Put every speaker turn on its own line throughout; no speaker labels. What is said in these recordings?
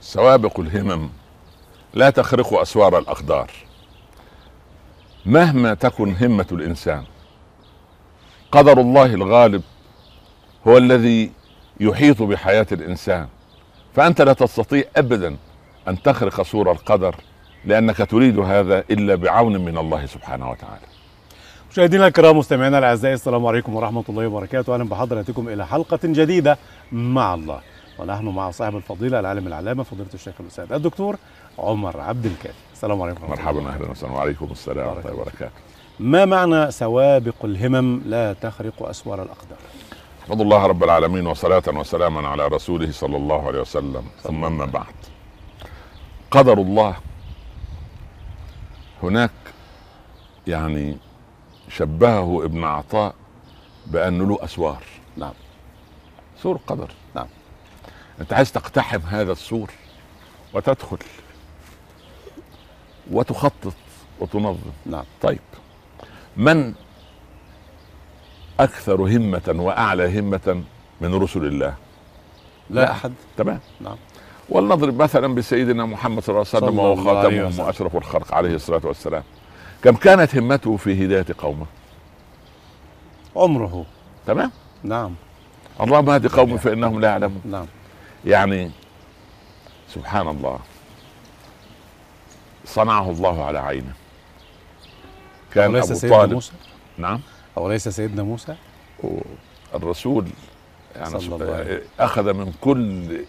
سوابق الهمم لا تخرق اسوار الاقدار مهما تكن همه الانسان قدر الله الغالب هو الذي يحيط بحياه الانسان فانت لا تستطيع ابدا ان تخرق سور القدر لانك تريد هذا الا بعون من الله سبحانه وتعالى
مشاهدينا الكرام مستمعينا الاعزاء السلام عليكم ورحمه الله وبركاته اهلا بحضراتكم الى حلقه جديده مع الله ونحن مع صاحب الفضيله العالم العلامه فضيله الشيخ الاستاذ الدكتور عمر عبد الكافي السلام عليكم ورحمة
مرحبا
الله.
اهلا وسهلا وعليكم السلام ورحمه الله وبركاته
ما معنى سوابق الهمم لا تخرق اسوار الاقدار
احمد الله رب العالمين وصلاة وسلاما على رسوله صلى الله عليه وسلم ثم أما بعد قدر الله هناك يعني شبهه ابن عطاء بأنه له أسوار
نعم
سور قدر
نعم.
أنت عايز تقتحم هذا السور وتدخل وتخطط وتنظم
نعم
طيب من اكثر همه واعلى همه من رسل الله
لا,
لا.
احد
تمام
نعم.
ولنضرب مثلا بسيدنا محمد صلى الله عليه وسلم
صلى
وهو
الله عليه
خاتمهم
وسلم.
واشرف الخلق عليه الصلاه والسلام كم كانت همته في هدايه قومه
عمره
تمام
نعم
اللهم هد قوم فانهم لا يعلمون
نعم
يعني سبحان الله صنعه الله على عينه كان
أوليس
ابو
سيدنا
طالب
موسى
نعم
أوليس سيدنا موسى
الرسول يعني
صلى الله عليه وسلم.
اخذ من كل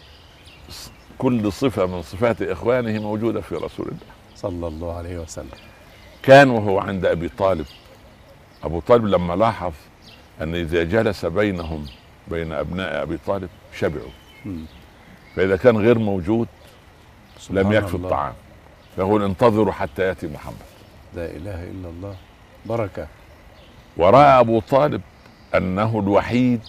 كل صفه من صفات اخوانه موجوده في رسول الله
صلى الله عليه وسلم
كان وهو عند ابي طالب ابو طالب لما لاحظ ان اذا جلس بينهم بين ابناء ابي طالب شبعوا
مم.
فاذا كان غير موجود لم
سبحان
يكفي
الله.
الطعام يقول انتظروا حتى ياتي محمد
لا اله الا الله بركه
وراى ابو طالب انه الوحيد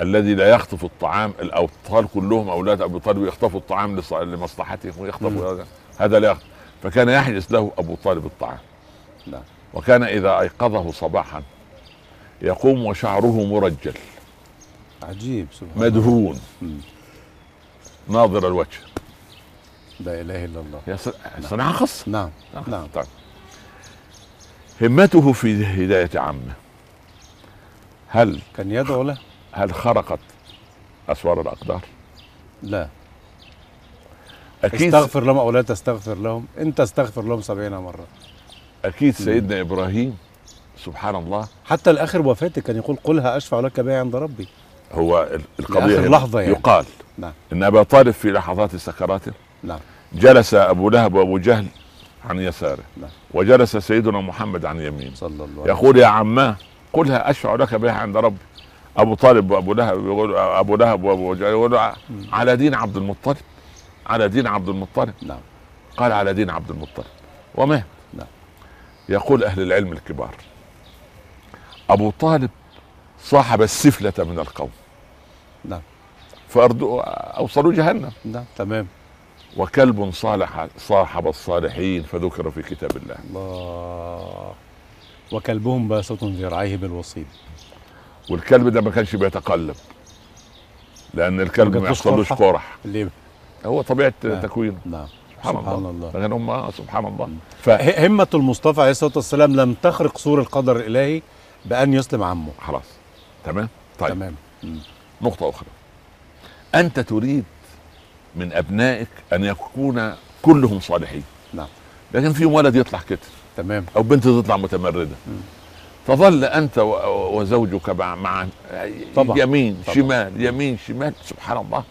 الذي لا يخطف الطعام الاطفال كلهم اولاد ابو طالب يخطفوا الطعام لص- لمصلحتهم ويخطفوا هذا هذا لا يخطف فكان يحجز له ابو طالب الطعام
نعم.
وكان اذا ايقظه صباحا يقوم وشعره مرجل
عجيب سبحان
مدهون
مم.
ناظر الوجه
لا اله الا الله
هي ص- صناعه خاصه
نعم نعم
طيب. همته في هدايه عامه هل
كان يدعو
آه.
له
هل خرقت اسوار الاقدار؟
لا
اكيد
استغفر لهم او لا تستغفر لهم انت استغفر لهم سبعين مره
اكيد سيدنا ابراهيم سبحان الله
حتى لاخر وفاته كان يقول قلها اشفع لك بها عند ربي
هو ال- القضيه
لآخر
هنا
لحظة يعني.
يقال
نعم.
ان ابا طالب في لحظات سكراته
نعم
جلس ابو لهب وابو جهل عن يساره
نعم.
وجلس سيدنا محمد عن يمينه
صلى الله عليه وسلم
يقول يا عماه قلها اشفع لك بها عند ربي ابو طالب وابو لهب يقول ابو لهب وابو جهل يقول ع- على دين عبد المطلب على دين عبد المطلب
نعم
قال على دين عبد المطلب وما
نعم.
يقول اهل العلم الكبار ابو طالب صاحب السفلة من القوم
نعم.
فأردوا أوصلوا جهنم
نعم تمام
وكلب صالح صاحب الصالحين فذكر في كتاب الله
الله وكلبهم باسط ذراعيه بالوصيد
والكلب ده ما كانش بيتقلب لأن الكلب ما
جاتلوش
يحصلوش
قرحة؟
قرح
اللي
هو طبيعة
نعم.
تكوينه
نعم
سبحان
سبحان
الله
الله.
لكن هم آه، سبحان الله ف
ه- همة المصطفى عليه الصلاة والسلام لم تخرق سور القدر الإلهي بأن يسلم عمه
خلاص تمام طيب
تمام
نقطة أخرى أنت تريد من أبنائك أن يكون كلهم صالحين
نعم.
لكن في ولد يطلع كده
تمام
أو بنت تطلع متمردة تظل أنت و- و- وزوجك مع مع
طبعا.
يمين
طبعا.
شمال يمين شمال سبحان الله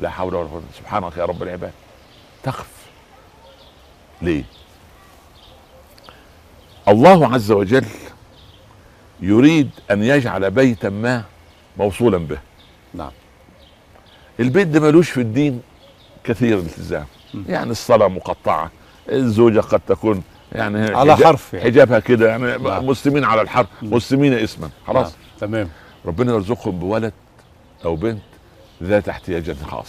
لا حول ولا قوة سبحانك يا رب العباد تخف ليه؟ الله عز وجل يريد أن يجعل بيتا ما موصولا به
نعم
البيت ده ملوش في الدين كثير التزام
مم.
يعني الصلاه مقطعه الزوجه قد تكون يعني
على
حجاب-
حرف يعني.
حجابها كده يعني
نعم.
مسلمين على الحرف مسلمين اسما خلاص
نعم. تمام
ربنا يرزقهم بولد او بنت ذات احتياج خاص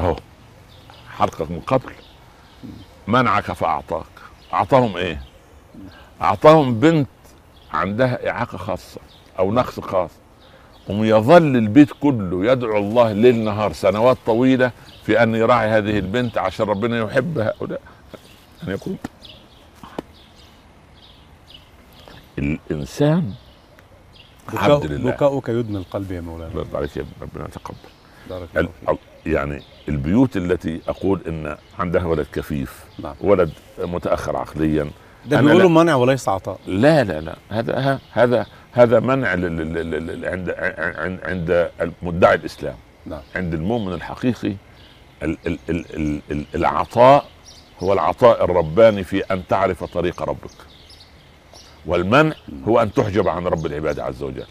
اهو حرقك من قبل منعك فاعطاك اعطاهم ايه اعطاهم بنت عندها اعاقه خاصه او نقص خاص ويظل البيت كله يدعو الله ليل نهار سنوات طويلة في أن يراعي هذه البنت عشان ربنا يحب هؤلاء أن يقول الإنسان عبد لله.
بكاؤك يدمي القلب يا مولانا
الله عليك يا ابن ربنا يتقبل
بارك الله
ال-
فيك.
ال- يعني البيوت التي أقول إن عندها ولد كفيف
نعم.
ولد متأخر عقليا
ده
أنا
بيقولوا منع وليس عطاء
لا لا لا هذا ه- هذا هذا منع لل- لل- لل- لل- عند عند عند مدعي الاسلام
نعم.
عند المؤمن الحقيقي ال ال ال ال ال العطاء هو العطاء الرباني في ان تعرف طريق ربك والمنع هو ان تحجب عن رب العباد عز وجل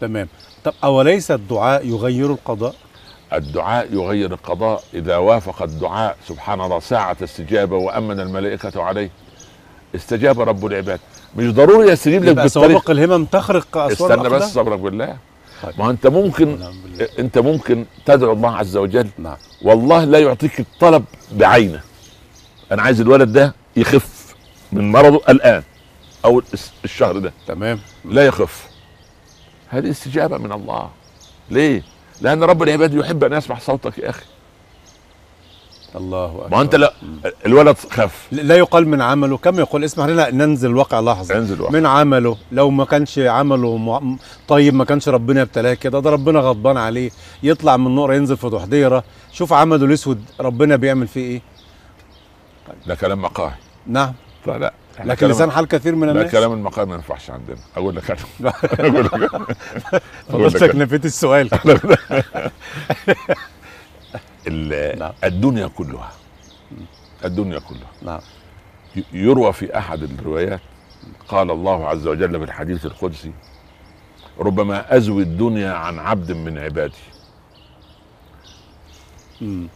تمام طب اوليس الدعاء يغير القضاء
الدعاء يغير القضاء اذا وافق الدعاء سبحان الله ساعه استجابه وامن الملائكه عليه استجاب رب العباد مش ضروري يستجيب لك
يبقى
بالطريقه
سوابق الهمم تخرق اسوار
استنى
الأقدام؟
بس صبرك بالله
طيب.
ما هو انت ممكن
والعياذ بالله.
انت ممكن تدعو الله عز وجل
نعم
والله لا يعطيك الطلب بعينه انا عايز الولد ده يخف من مرضه الان او الس- الشهر ده
تمام
لا يخف هذه استجابه من الله ليه لان رب العباد يحب ان يسمع صوتك يا اخي
الله اكبر
ما هو انت لا الولد خف
لا يقال من عمله كما يقول اسمح لنا ننزل الواقع لحظه
انزل واحد
من عمله لو ما كانش عمله م- طيب ما كانش ربنا ابتلاه كده ده ربنا غضبان عليه يطلع من نقره ينزل في تحضيره شوف عمله الاسود ربنا بيعمل فيه ايه
ده كلام مقاهي
نعم
لا لا إحنا
لكن
كلام-
لسان حال كثير من
لا
الناس
كلام المقاهي ما ينفعش عندنا اقول لك انا اقول لك أنا. أقول لك
حضرتك
أنا.
نفيت السؤال
ال-
نعم.
الدنيا كلها الدنيا كلها
نعم
ي- يروى في احد الروايات قال الله عز وجل في الحديث القدسي ربما ازوي الدنيا عن عبد من عبادي
مم.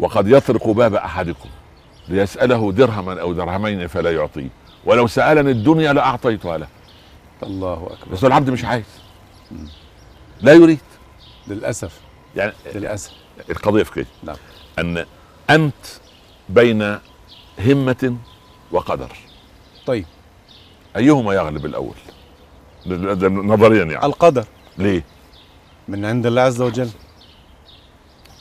وقد يطرق باب احدكم ليساله درهما او درهمين فلا يعطيه ولو سالني الدنيا لاعطيتها له
الله اكبر
بس هو العبد مش عايز لا يريد
للاسف
يعني
للاسف
القضيه في كده
نعم
ان انت بين همه وقدر
طيب
ايهما يغلب الاول ده- ده نظريا يعني
القدر
ليه
من عند الله عز وجل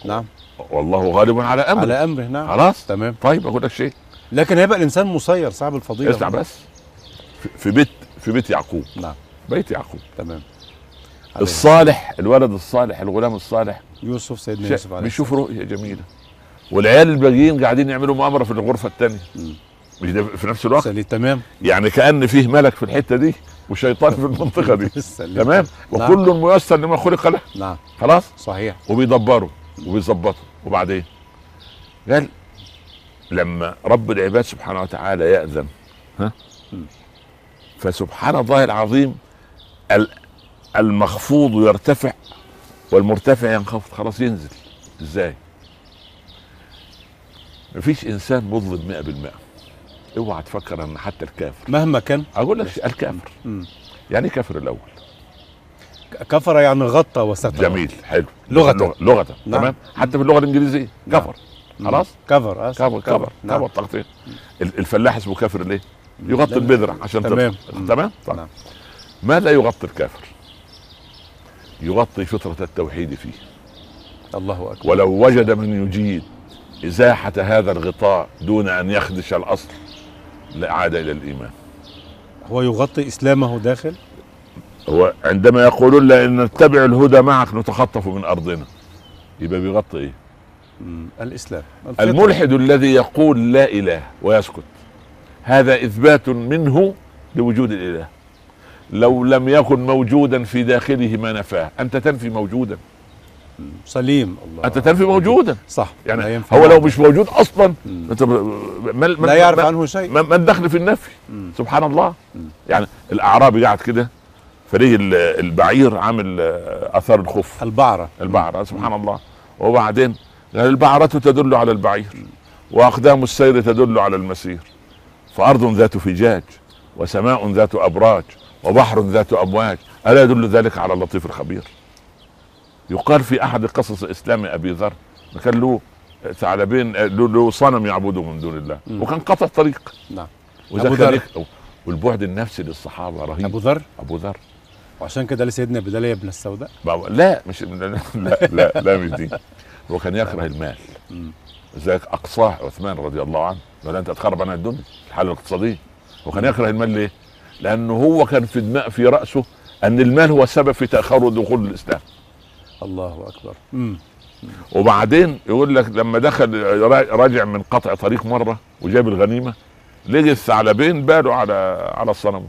نعم
والله غالب على امره
على امره نعم
خلاص
تمام
طيب اقول لك شيء
لكن هيبقى الانسان مسير صاحب الفضيله
اسمع بس في- في بيت في بيت يعقوب
نعم
بيت يعقوب
تمام عليه.
الصالح الولد الصالح الغلام الصالح
يوسف سيدنا
شا-
يوسف عليه السلام.
بيشوف رؤيه جميله والعيال الباقيين قاعدين يعملوا مؤامره في الغرفه الثانيه
مم.
مش ده في نفس الوقت
سليم تمام
يعني كان فيه ملك في الحته دي وشيطان في المنطقه دي
سليم.
تمام
نعم.
وكل ميسر لما خلق له
نعم
خلاص
صحيح
وبيدبروا وبيظبطوا وبعدين قال لما رب العباد سبحانه وتعالى يأذن ها
مم.
فسبحان الله العظيم ال- المخفوض يرتفع والمرتفع ينخفض خلاص ينزل ازاي مفيش انسان مظلم 100% اوعى تفكر ان حتى الكافر
مهما كان
اقول لك شيء، الكافر
مم.
يعني إيه كافر الاول
كفر يعني غطى وستر
جميل حلو
لغة.
لغه لغة.
نعم.
تمام حتى في اللغه الانجليزيه
نعم.
كفر
مم.
خلاص
كفر آسف.
كفر كفر
نعم.
كفر تغطيه ال- الفلاح اسمه كافر ليه؟ يغطي
لأن-
البذرة عشان
تمام.
تغطي. تمام؟ طيب.
نعم.
ما لا يغطي الكافر؟ يغطي فطرة التوحيد فيه طيب.
الله اكبر
ولو وجد من يجيد إزاحة هذا الغطاء دون أن يخدش الأصل لعاد إلى الإيمان
هو يغطي اسلامه داخل
هو عندما يقولون لئن نتبع الهدى معك نتخطف من أرضنا يبقى بيغطي إيه؟
مم. الاسلام الفطرة.
الملحد الذي يقول لا اله ويسكت هذا اثبات منه لوجود الاله لو لم يكن موجودا في داخله ما نفاه انت تنفي موجودا
سليم الله
انت تنفي موجودا
صح آه، لا
يعني
ينفع
هو لو
معه.
مش موجود اصلا
مم.
انت ب- ما ما-
لا يعرف
ما-
عنه شيء
ما ما الدخل في النفي
مم.
سبحان الله
مم.
يعني الاعرابي قاعد كده فريق ال- البعير عامل آه، اثار الخوف
البعرة
البعرة سبحان الله وبعدين قال البعرة تدل على البعير وأقدام السير تدل على المسير فأرض ذات فجاج وسماء ذات أبراج وبحر ذات أمواج ألا يدل ذلك على اللطيف الخبير يقال في أحد قصص إسلام أبي ذر كان له ثعلبين له له صنم يعبده من دون الله
مم.
وكان قطع طريق
نعم
وده
أبو
كان
ذر.
إيه. يك- والبعد النفسي للصحابة رهيب
ابو ذر
أبو ذر
وعشان كده لسيدنا بدالية بن السوداء
بقى- لا مش لا لا لا مش دي هو كان يكره المال
مم.
ذلك اقصاه عثمان رضي الله عنه قال انت تخرب عن الدنيا الحاله الاقتصاديه هو كان يكره المال ليه؟ لانه هو كان في دماء في راسه ان المال هو السبب في تاخر دخول الاسلام
الله اكبر امم
وبعدين يقول لك لما دخل راجع من قطع طريق مره وجاب الغنيمه لقي الثعلبين بالوا على على الصنم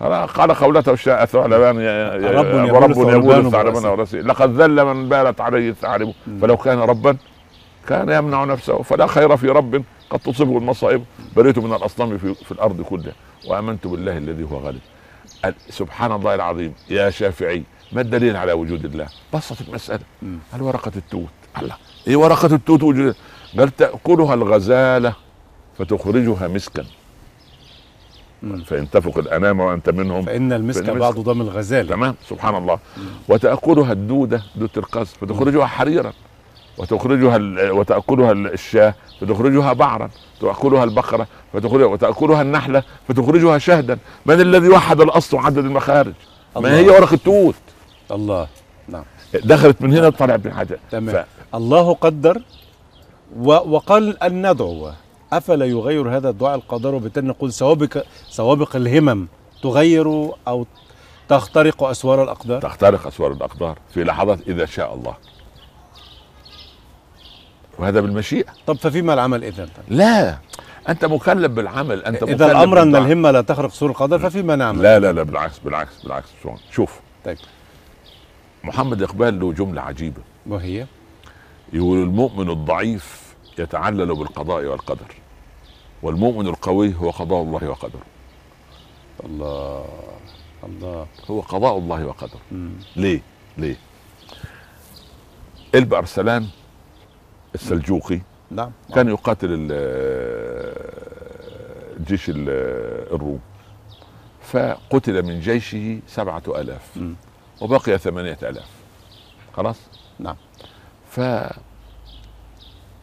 قال- قال قولته الشاء ثعلبان يا- يا-
رب يبول
رب يبول
الثعلبان
الثعلبان
برأسه.
وراسه لقد ذل من بالت عليه الثعلب
مم.
فلو كان ربا كان يمنع نفسه فلا خير في رب قد تصيبه المصائب بريت من الاصنام في, في الارض كلها وامنت بالله الذي هو غالب قال سبحان الله العظيم يا شافعي ما الدليل على وجود الله؟ بسط المساله
مم.
قال ورقه التوت الله ايه ورقه التوت وجود الله؟ قال تاكلها الغزاله فتخرجها مسكا
مم.
فان تفق الانامه وانت منهم
فان المسك
فالمسك-
بعض دم الغزال
تمام سبحان الله وتاكلها الدوده دوده القز فتخرجها حريرا وتخرجها ال- وتاكلها ال- الشاه فتخرجها بعرا تاكلها البقره فتخرجها وتاكلها النحله فتخرجها شهدا من الذي وحد الاصل وعدد المخارج ما
الله.
هي ورقه توت
الله نعم
دخلت من هنا طلعت من حاجه
تمام الله قدر و... وقال ان ندعو افلا يغير هذا الدعاء القدر وبالتالي نقول سوابق سوابق الهمم تغير او تخترق اسوار الاقدار
تخترق اسوار الاقدار في لحظات اذا شاء الله وهذا بالمشيئه
طب ففيما العمل اذا طيب؟
لا انت مكلف بالعمل انت
اذا
مكلف
الامر ان
بالدعاء.
الهمه لا تخرق سور القدر ففيما نعمل
لا لا لا بالعكس بالعكس بالعكس شلون؟ شوف
طيب
محمد اقبال له جمله عجيبه
وهي
يقول المؤمن الضعيف يتعلل بالقضاء والقدر والمؤمن القوي هو قضاء الله وقدره
الله الله
هو قضاء الله وقدره
مم.
ليه ليه الب ارسلان السلجوقي
نعم
كان يقاتل ال- جيش ال- الروم فقتل من جيشه سبعة ألاف
مم.
وبقي ثمانية ألاف خلاص
نعم
ف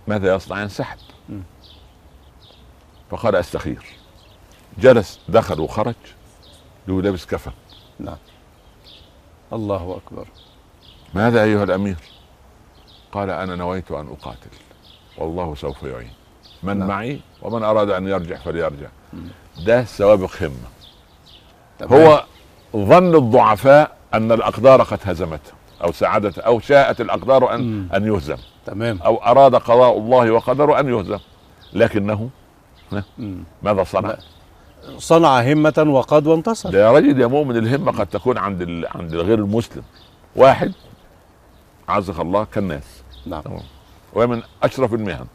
ماذا يصنع ينسحب
مم.
فقال استخير جلس دخل وخرج له لابس كفن
نعم الله اكبر
ماذا ايها الامير قال انا نويت ان اقاتل والله سوف يعين من
نعم.
معي ومن اراد ان يرجع فليرجع
مم.
ده سوابق همه
تمام.
هو ظن الضعفاء ان الاقدار قد هزمته او ساعدت او شاءت الاقدار ان
مم.
ان يهزم
تمام
او اراد قضاء الله وقدره ان يهزم لكنه
مم.
ماذا صنع؟
صنع همه وقد وانتصر
ده يا راجل يا مؤمن الهمه قد تكون عند ال... عند الغير المسلم واحد عزك الله كالناس
نعم
وهي من اشرف المهن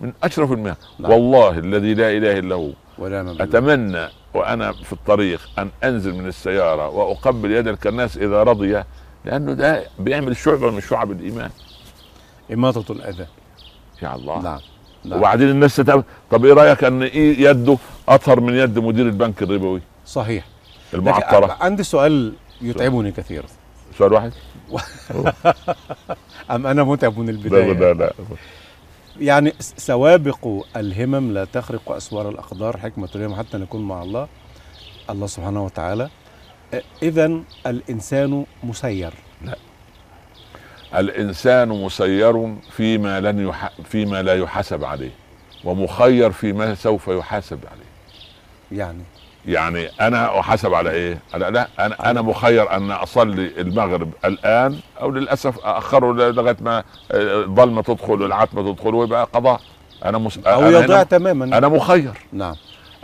من اشرف المهن
نعم.
والله الذي لا اله الا هو
ونعم بالله
اتمنى وانا في الطريق ان انزل من السياره واقبل يد الكناس اذا رضي لانه ده بيعمل شعبه من شعب الايمان
اماطه الاذى
يا الله
نعم نعم
وبعدين الناس تتعب طب ايه رايك ان ايه يده اطهر من يد مدير البنك الربوي
صحيح لكن
المعطره
عندي سؤال يتعبني كثيرا
سؤال واحد
ام انا متعب من
لا
البدايه
لا لا
يعني س- سوابق الهمم لا تخرق اسوار الاقدار حكمه اليوم حتى نكون مع الله الله سبحانه وتعالى اذا الانسان مسير
الانسان مسير فيما لن يح... فيما لا يحاسب عليه ومخير فيما سوف يحاسب عليه
يعني
يعني انا احاسب على ايه على لا انا انا مخير ان اصلي المغرب الان او للاسف اخره ل- لغايه ما آه، الظلمه تدخل والعتمه تدخل ويبقى قضاء انا مس...
او
أنا,
يضيع
هنا...
تماما
انا مخير
نعم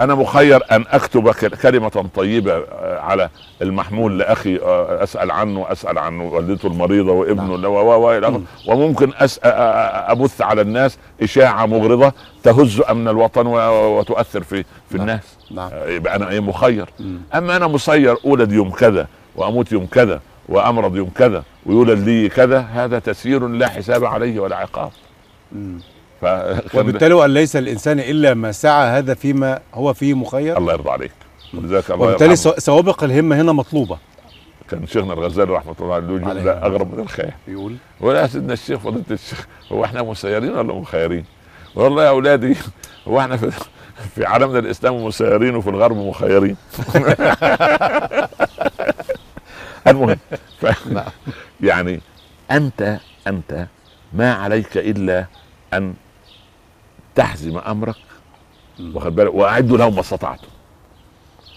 انا مخير ان اكتب ك- كلمه طيبه آه، على المحمول لاخي آه، اسال عنه اسال عن والدته المريضه وابنه
نعم.
لا، و و- و إلى آخره.
مم.
وممكن أس... آه، أ- أ- ابث على الناس اشاعه مغرضه تهز امن الوطن و... و- وتؤثر في في
نعم.
الناس
نعم
آه، يبقى انا ايه مخير
مم.
اما انا مسير اولد يوم كذا واموت يوم كذا وامرض يوم كذا ويولد لي كذا هذا تسيير لا حساب عليه ولا عقاب
مم.
ف...
وبالتالي وأن ليس الإنسان إلا ما سعى هذا فيما هو فيه مخير
الله يرضى عليك ولذلك الله
وبالتالي
يرحمه.
سو- سوابق الهمة هنا مطلوبة
كان شيخنا الغزالي رحمه الله عليه له
عليه
جمله
الرحمة.
اغرب من الخيال
يقول
ولا يا سيدنا الشيخ فضيله الشيخ هو احنا مسيرين ولا مخيرين؟ والله يا اولادي هو احنا في في عالمنا الاسلام مسيرين وفي الغرب مخيرين المهم ف... يعني انت انت ما عليك الا ان تحزم امرك واخد بالك واعدوا له ما استطعتم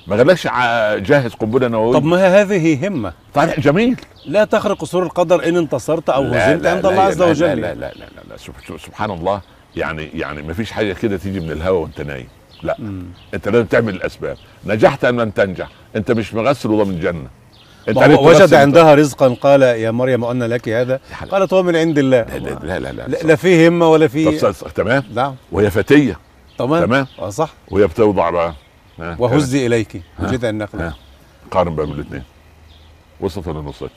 ما قالكش ع- جهز قنبله
طب
نوويه
ما هي هذه همه
طيب جميل
لا تخرق سور القدر ان انتصرت او هزمت عند الله عز وجل
لا لا لا, لا, لا سب- سب- سبحان الله يعني يعني ما فيش حاجه كده تيجي من الهوا وانت نايم لا
مم.
انت لازم تعمل الاسباب نجحت ام لم تنجح انت مش مغسل وضامن جنه انت
ما هو
عرفت
وجد
بس انت-
عندها رزقا قال يا مريم أن لك هذا
يا حلال.
قالت هو من عند الله
لا
لا
لا لا لا, لا,
لا في همه ولا في
طب ص- ص- تمام
نعم
وهي فتيه
تمام
تمام.
آه، صح
وهي بتوضع بقى ها،
وهزي اليك جذع النخله
ها. قارن بين الاثنين وصلت ولا ما وصلتش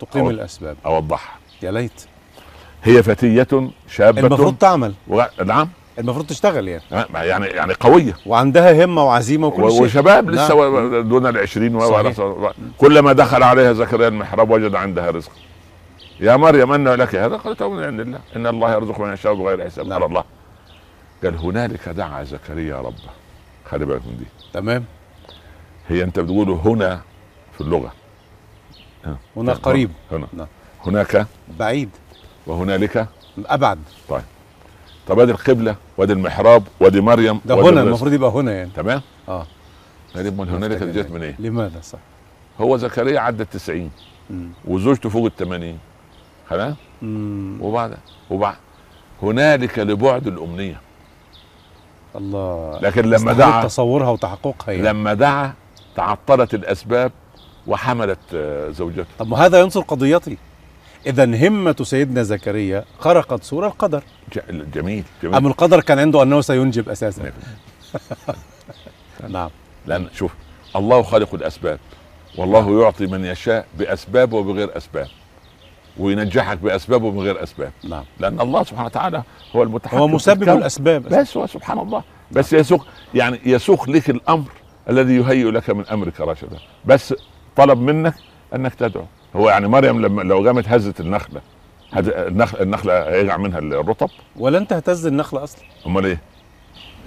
تقيم
أو-
الاسباب
اوضحها
يا ليت
هي فتيه شابه
المفروض تعمل
و... نعم
المفروض تشتغل يعني
يعني يعني قويه
وعندها همه وعزيمه وكل شيء
و- وشباب
نعم.
لسه و- دون العشرين و-
صحيح.
و- كلما دخل عليها زكريا المحراب وجد عندها رزق يا مريم أن لك هذا قالت هو من عند الله إن الله يرزق من يشاء بغير حساب
نعم.
على الله قال هنالك دعا زكريا ربه خلي بالك من دي
تمام
هي أنت بتقول هنا في اللغة
هنا قريب
هنا
نعم.
هناك
بعيد
وهنالك
ابعد
طب ادي القبلة وادي المحراب وادي مريم
ده
وادي
هنا
الرزق.
المفروض يبقى هنا يعني
تمام
اه
قال امال هنالك دي جت من ايه؟
لماذا صح
هو زكريا عدى ال 90
مم.
وزوجته فوق ال 80 خلاص
مم.
وبعد وبعد هنالك لبعد الامنيه
الله
لكن لما
مستحيل
دعا
تصورها وتحققها يعني.
لما دعا تعطلت الاسباب وحملت آه، زوجته
طب ما هذا ينصر قضيتي اذا همه سيدنا زكريا خرقت سور القدر
ج- جميل جميل
ام القدر كان عنده انه سينجب اساسا نعم
لان شوف الله خالق الاسباب
نعم.
والله يعطي من يشاء باسباب وبغير اسباب وينجحك باسباب ومن غير اسباب
نعم
لان الله سبحانه وتعالى هو المتحكم
هو
في
مسبب
الكون.
الاسباب
بس هو سبحان الله بس يسوق يعني يسوق لك الامر الذي يهيئ لك من امرك رشدا بس طلب منك انك تدعو هو يعني مريم لما لو قامت هزت النخله هز النخل النخله هيقع منها الرطب
ولن تهتز النخله اصلا
امال ايه؟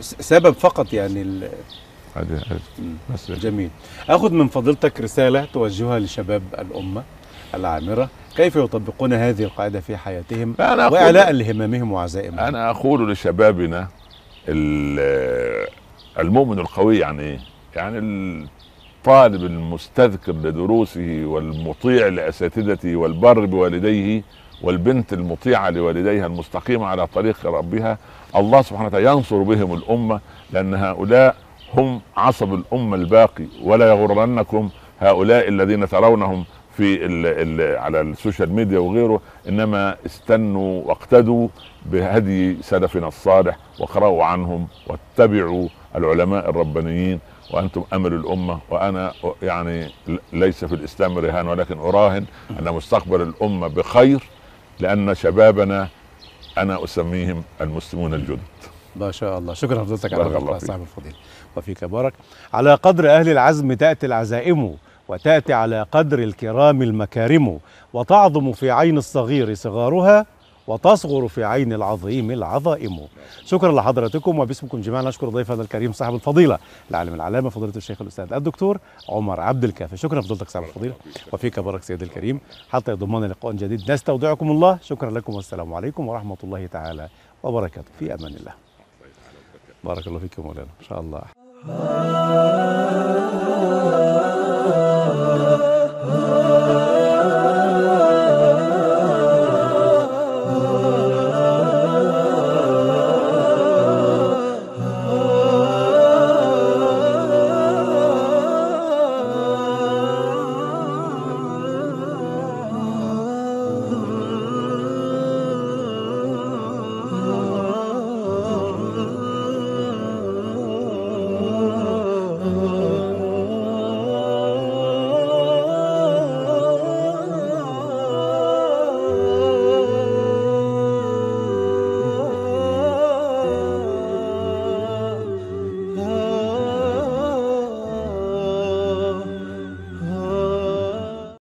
س- سبب فقط يعني ال-
هذه- هذه- بس
جميل اخذ من فضيلتك رساله توجهها لشباب الامه العامره كيف يطبقون هذه القاعده في حياتهم
أنا أقول-
واعلاء لهممهم وعزائمهم
انا اقول لشبابنا ال- المؤمن القوي يعني ايه؟ يعني الطالب المستذكر لدروسه والمطيع لاساتذته والبر بوالديه والبنت المطيعه لوالديها المستقيمه على طريق ربها الله سبحانه وتعالى ينصر بهم الامه لان هؤلاء هم عصب الامه الباقي ولا يغرنكم هؤلاء الذين ترونهم في ال ال على السوشيال ميديا وغيره انما استنوا واقتدوا بهدي سلفنا الصالح واقرأوا عنهم واتبعوا العلماء الربانيين وانتم امل الامه وانا يعني ليس في الاسلام رهان ولكن اراهن ان مستقبل الامه بخير لان شبابنا انا اسميهم المسلمون الجدد
ما شاء الله شكرا لفضيلتك على
بارك الله
الله
فيك.
صاحب الفضيل وفيك بارك على قدر أهل العزم تأتي العزائم وتأتي على قدر الكرام المكارم وتعظم في عين الصغير صغارها وتصغر في عين العظيم العظائم شكرا لحضراتكم وباسمكم جميعا نشكر ضيفنا الكريم صاحب الفضيلة العالم العلامة فضيلة الشيخ الأستاذ الدكتور عمر عبد الكافي شكرا لفضيلتك صاحب الفضيلة وفيك بارك سيدي الكريم حتى يضمنا لقاء جديد نستودعكم الله شكرا لكم والسلام عليكم ورحمة الله تعالى وبركاته في أمان الله بارك الله فيكم مولانا ان شاء الله